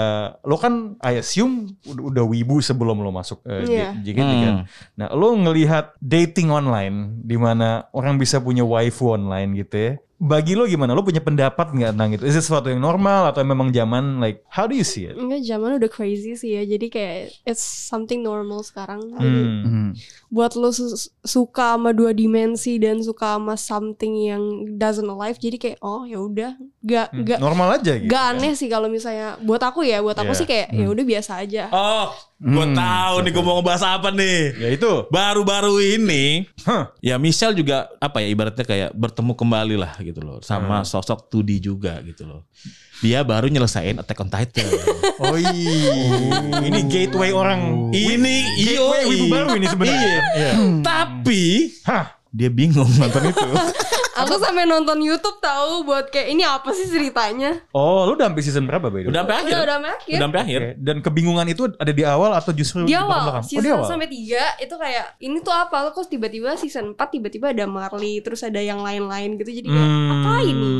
E: lo kan I assume ud- udah wibu sebelum lo masuk eh, J-
D: Iya.
E: JKT
B: Hmm.
E: kan. Nah, lo ngelihat dating online, di mana orang bisa punya waifu online gitu ya. Bagi lo gimana? Lo punya pendapat nggak tentang itu? Is it sesuatu yang normal atau memang zaman like how do you see it?
D: Enggak zaman udah crazy sih ya. Jadi kayak it's something normal sekarang. Jadi
E: Hmm.
C: Hmm.
D: buat lo su- suka sama dua dimensi dan suka sama something yang doesn't alive. Jadi kayak oh ya udah, gak
E: Hmm.
D: gak
E: Normal aja gitu.
D: gak
E: kan?
D: aneh sih kalau misalnya buat aku ya, buat aku
E: Iya.
D: sih kayak ya udah biasa aja.
B: Oh, gue
C: Hmm.
B: tahu nih gue mau ngebahas apa nih.
E: Ya itu.
B: Baru-baru ini,
E: Huh.
B: ya Michelle juga apa ya ibaratnya kayak bertemu kembali lah gitu loh, sama sosok 2D juga gitu loh. Dia baru nyelesain Attack on Titan.
E: Oh ini gateway orang.
B: ini iyo,
E: gateway wibu baru ini Hmm. sebenarnya. Iya.
B: tapi
E: Hah.
B: dia bingung nonton itu.
D: Aku sampai nonton YouTube tahu buat kayak ini apa sih ceritanya?
E: Oh, lu udah sampai season berapa, Bay?
B: Udah sampai akhir.
D: Udah udah sampai akhir.
B: Udah sampai akhir.
E: Oke, Dan kebingungan itu ada di awal atau justru
D: di awal
E: belakang? Oh,
D: season sampai tiga itu kayak ini tuh apa kok tiba-tiba season 4 tiba-tiba ada Marley terus ada yang lain-lain gitu jadi kayak apa ini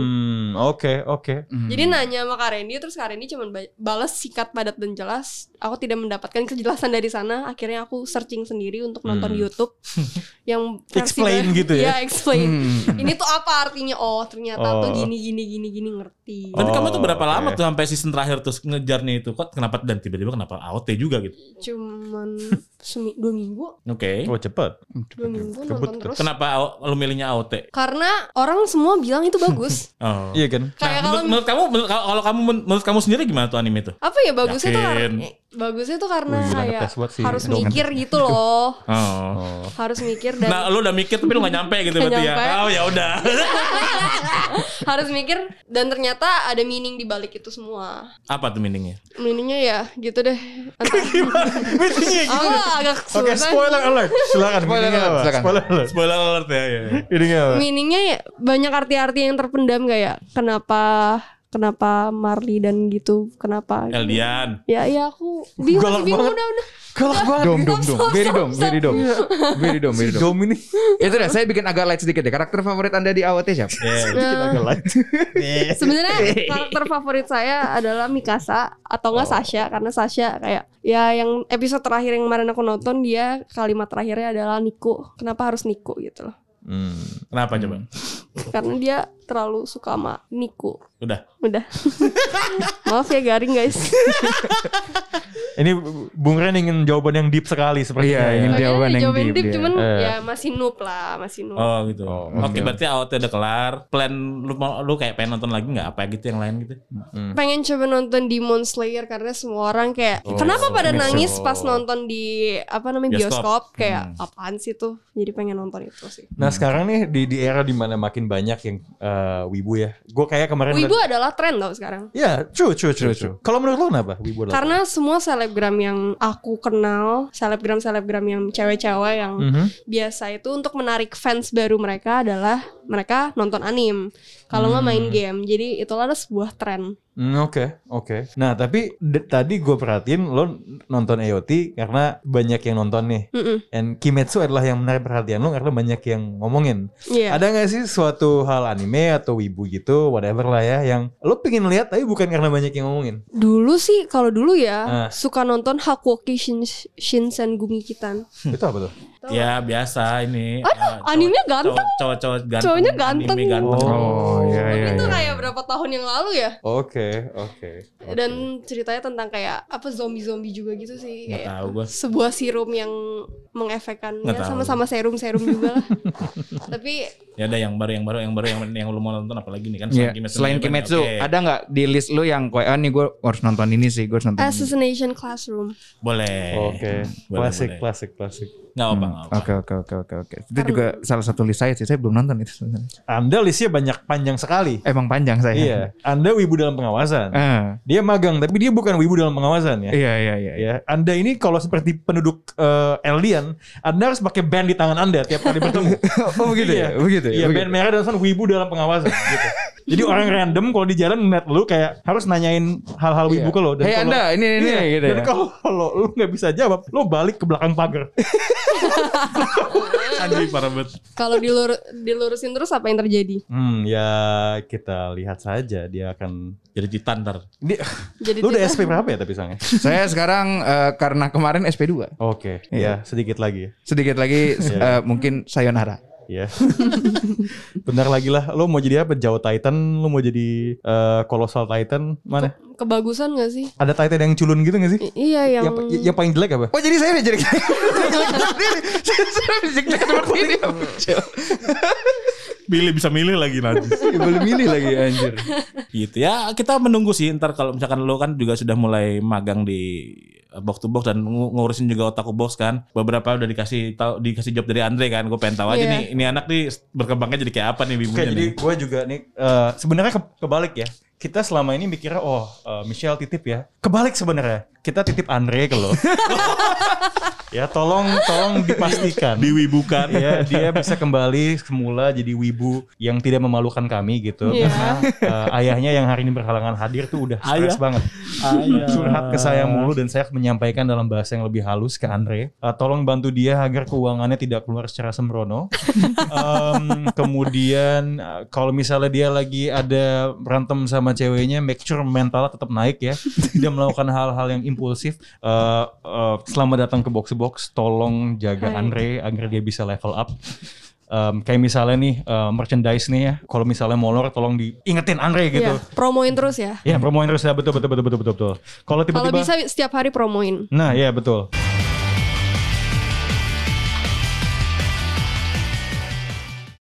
E: Hmm, Oke, oke.
C: hmm.
D: jadi nah, nanya sama Kak Randy terus Kak Randy cuma ba- balas sikat padat dan jelas aku tidak mendapatkan kejelasan dari sana akhirnya aku searching sendiri untuk nonton YouTube yang versi
E: Hmm. Explain
D: baru.
E: gitu ya?
D: Iya,
C: Hmm.
D: explain ini tuh apa artinya oh ternyata tuh
E: Oh.
D: gini gini gini gini ngerti
B: Tapi kamu tuh berapa
E: oke.
B: lama tuh sampai season terakhir terus ngejarnya itu? Kok kenapa dan tiba-tiba kenapa AOT juga gitu?
D: cuman semi- dua minggu
B: Oke.
E: Oh, cepet.
D: dua minggu
E: Kebut
D: nonton
E: tuh.
D: terus
B: Kenapa au- lu milihnya AOT?
D: karena orang semua bilang itu bagus
B: Oh.
E: Iya kan?
D: kayak
B: Nah,
D: kalau
B: menurut, menurut kamu menurut- kalau kalau kamu men- menurut kamu sendiri gimana tuh anime itu?
D: apa ya bagusnya tuh
B: Yakin.
D: karena bagusnya tuh karena
E: Wih, gila,
D: kayak
E: ngetes banget sih.
D: harus
E: Aduh,
D: mikir gitu loh
B: Oh.
E: Oh.
D: harus mikir dan
B: Nah, lu udah mikir tapi lu gak nyampe gitu
D: Nggak
B: berarti ya.
D: nyampe.
B: Oh, ya udah.
D: harus mikir dan ternyata ada meaning di balik itu semua
B: Apa tuh meaningnya?
D: meaningnya ya gitu deh Entah- aku agak
E: ya Oke,
D: kesulitan
E: spoiler alert. Silakan.
C: Spoiler
E: meaning-nya
C: alert,
E: apa?
C: silakan.
E: Spoiler alert.
B: Spoiler alert ya. ya.
E: Ini apa?
D: meaningnya ya banyak arti-arti yang terpendam kayak kenapa kenapa Marley dan gitu kenapa
B: Eldian.
D: ya ya aku bingung
E: Galak
D: bingung
E: banget.
D: udah udah
E: Galak banget.
C: Dom, dom, dom.
D: Stop,
C: Very
D: stop,
C: dom, very dom. Very dom, very dom.
E: Dom ini.
C: Itu dah, saya bikin agak light sedikit deh. Karakter favorit Anda di AOT siapa?
D: Nah,
E: Agak light.
D: Sebenarnya karakter favorit saya adalah Mikasa atau
C: Oh.
D: enggak Sasha karena Sasha kayak ya yang episode terakhir yang kemarin aku nonton dia kalimat terakhirnya adalah Niku. Kenapa harus Niku gitu loh.
E: Hmm.
B: Kenapa coba?
D: Karena dia terlalu suka sama Niku.
B: Udah.
D: Udah. Maaf ya garing guys.
E: Ini Bung Ren ingin jawaban yang deep sekali sepertinya.
C: Iya,
E: ya.
C: ingin jawaban yang
D: jawaban
C: deep
D: deep,
C: dia.
D: cuman
E: Eh.
D: ya masih noob lah, masih noob.
B: Oh gitu.
E: Oh, oke.
B: Oke, berarti AOT udah kelar. Plan lu mau lu kayak pengen nonton lagi nggak? Apa gitu yang lain gitu?
D: Pengen coba nonton Demon Slayer karena semua orang kayak
C: Oh.
D: kenapa pada nangis pas nonton di apa namanya
B: Bioskop.
D: bioskop, kayak
C: Hmm.
D: apaan sih tuh? Jadi pengen nonton itu sih.
E: Nah sekarang nih di di era dimana makin banyak yang eh, wibu ya. Gue kayak kemarin.
D: Wibu adalah tren tau sekarang.
E: Ya true true true true. Kalau menurut lo kenapa wibu? adalah-
D: Karena semua selebgram yang aku kenal, selebgram-selebgram yang cewek-cewek yang
E: Mhm.
D: biasa itu untuk menarik fans baru mereka adalah mereka nonton anim. Kalau nggak main game. Jadi itulah ada sebuah tren.
E: Hmm, Oke oke. Nah tapi de- tadi gue perhatiin lo nonton EOT karena banyak yang nonton nih.
D: Mm-mm.
E: And Kimetsu adalah yang menarik perhatian lo karena banyak yang ngomongin.
D: Iya.
E: Ada nggak sih suatu hal anime atau wibu gitu, whatever lah ya, yang lo pengen lihat tapi bukan karena banyak yang ngomongin.
D: Dulu sih kalau dulu ya
E: Ah.
D: suka nonton Hakuoki Shin Shinsen Gumikitan.
C: Hmm.
E: Itu apa tuh?
B: Ya biasa ini.
D: Aduh,
B: eh,
D: animenya
B: cowok-
D: ganteng.
B: Cowok-cowok ganteng.
D: Cowoknya ganteng.
B: Anime ganteng.
C: Oh, iya iya.
D: Itu
C: iya.
D: kayak berapa tahun yang lalu ya?
E: Oke oke. oke.
D: Dan ceritanya tentang kayak apa zombie-zombie juga gitu sih
B: Nggak
D: kayak
B: tahu gue.
D: sebuah sirum yang mengefekkan
B: Nggak
D: ya
B: tahu.
D: sama-sama serum-serum juga lah. Tapi
B: Ya ada yang baru, yang baru, yang baru, yang yang lu mau nonton apalagi nih kan?
C: Iya, Selain Kimetsu,
B: oke.
C: ada nggak di list lu yang kayak ah, nih gue harus nonton ini sih, gue harus
D: Eh,
C: nonton. ini.
D: Assassination Classroom
B: Boleh.
C: Eh,
E: Oke.
B: boleh,
E: Klasik
B: boleh.
E: klasik klasik.
B: Nggak apa-apa. nggak apa-apa.
C: Oke oke oke oke oke. Itu juga salah satu list saya sih. Saya belum nonton itu sebenarnya. Eh,
E: Anda listnya banyak panjang sekali.
C: Emang panjang saya.
E: Iya, Anda wibu dalam pengawasan.
C: Ah,
E: Dia magang, tapi dia bukan wibu dalam pengawasan ya.
C: iya iya iya. iya.
E: Ya, Anda ini kalau seperti penduduk eh, alien, Anda harus pakai band di tangan Anda tiap kali bertemu.
C: Oh begitu ya, begitu ya.
E: Iya,
C: begitu.
E: band merah dan wibu dalam pengawasan gitu. Jadi orang random kalau di jalan ngeliat lu kayak harus nanyain hal-hal wibu ke lu. Iya. Dan kalau-
C: Hei, Iya. Anda, ini, ini,
E: Iya,
C: gitu
E: Dan
C: ya.
E: kalau, kalau lu nggak bisa jawab, lu balik ke belakang pagar.
B: Anjing parah banget.
D: Kalau dilur- dilurusin terus apa yang terjadi?
E: Hmm, ya kita lihat saja dia akan.
B: Jadi titan ntar.
E: Dia,
D: Jadi
E: lu udah
D: tidak-
E: SP berapa ya tapi sangnya?
C: Saya sekarang eh, karena kemarin SP2
E: Oke, ya
C: Iya.
E: sedikit lagi.
C: sedikit lagi s-
E: Iya.
C: eh, mungkin sayonara.
E: Ya. Bentar lagi lah. Lu mau jadi apa? Jawa Titan, lu mau jadi eh, Colossal Titan, mana?
D: kebagusan gak sih?
E: Ada Titan yang culun gitu gak sih?
D: I-
B: Ya,
D: iya yang,
E: Yang, yang paling jelek apa?
C: Oh jadi saya jadi saya fisik seperti ini.
B: Milih bisa milih lagi nanti.
C: Belum ini lagi anjir.
B: gitu ya kita menunggu sih ntar kalau misalkan lo kan juga sudah mulai magang di eh, box to box dan ngu- ngurusin juga otaku box kan beberapa udah dikasih tahu dikasih job dari Andre kan gue pengen tahu aja
D: Iya.
B: nih ini anak nih berkembangnya jadi kayak apa nih
E: Oke,
B: bibunya
E: jadi
B: nih
E: gue juga nih eh, sebenarnya ke- kebalik ya. Kita selama ini mikirnya oh eh, Michelle titip ya. Kebalik sebenarnya. Kita titip Andre ke lo. ya tolong tolong dipastikan.
B: diwibukan
E: ya dia bisa kembali semula jadi wibu yang tidak memalukan kami gitu
D: Iya.
E: karena eh, ayahnya yang hari ini berhalangan hadir tuh udah stres
B: Ayah.
E: banget
B: Ayah.
E: curhat ke saya mulu dan saya menyampaikan dalam bahasa yang lebih halus ke Andre Eh, tolong bantu dia agar keuangannya tidak keluar secara sembrono Em, kemudian eh, kalau misalnya dia lagi ada berantem sama ceweknya make sure mentalnya tetap naik ya tidak melakukan hal-hal yang impulsif Eh, eh, selama datang ke box to box tolong jaga
D: Hai.
E: Andre agar dia bisa level up Em, kayak misalnya nih eh, merchandise nih ya kalau misalnya molor tolong diingetin Andre gitu
D: iya, promoin terus ya.
E: Iya, ya promoin terus ya betul betul betul betul betul, betul.
D: Kalau
E: kalau tiba-tiba
D: bisa setiap hari promoin.
E: Nah, iya betul.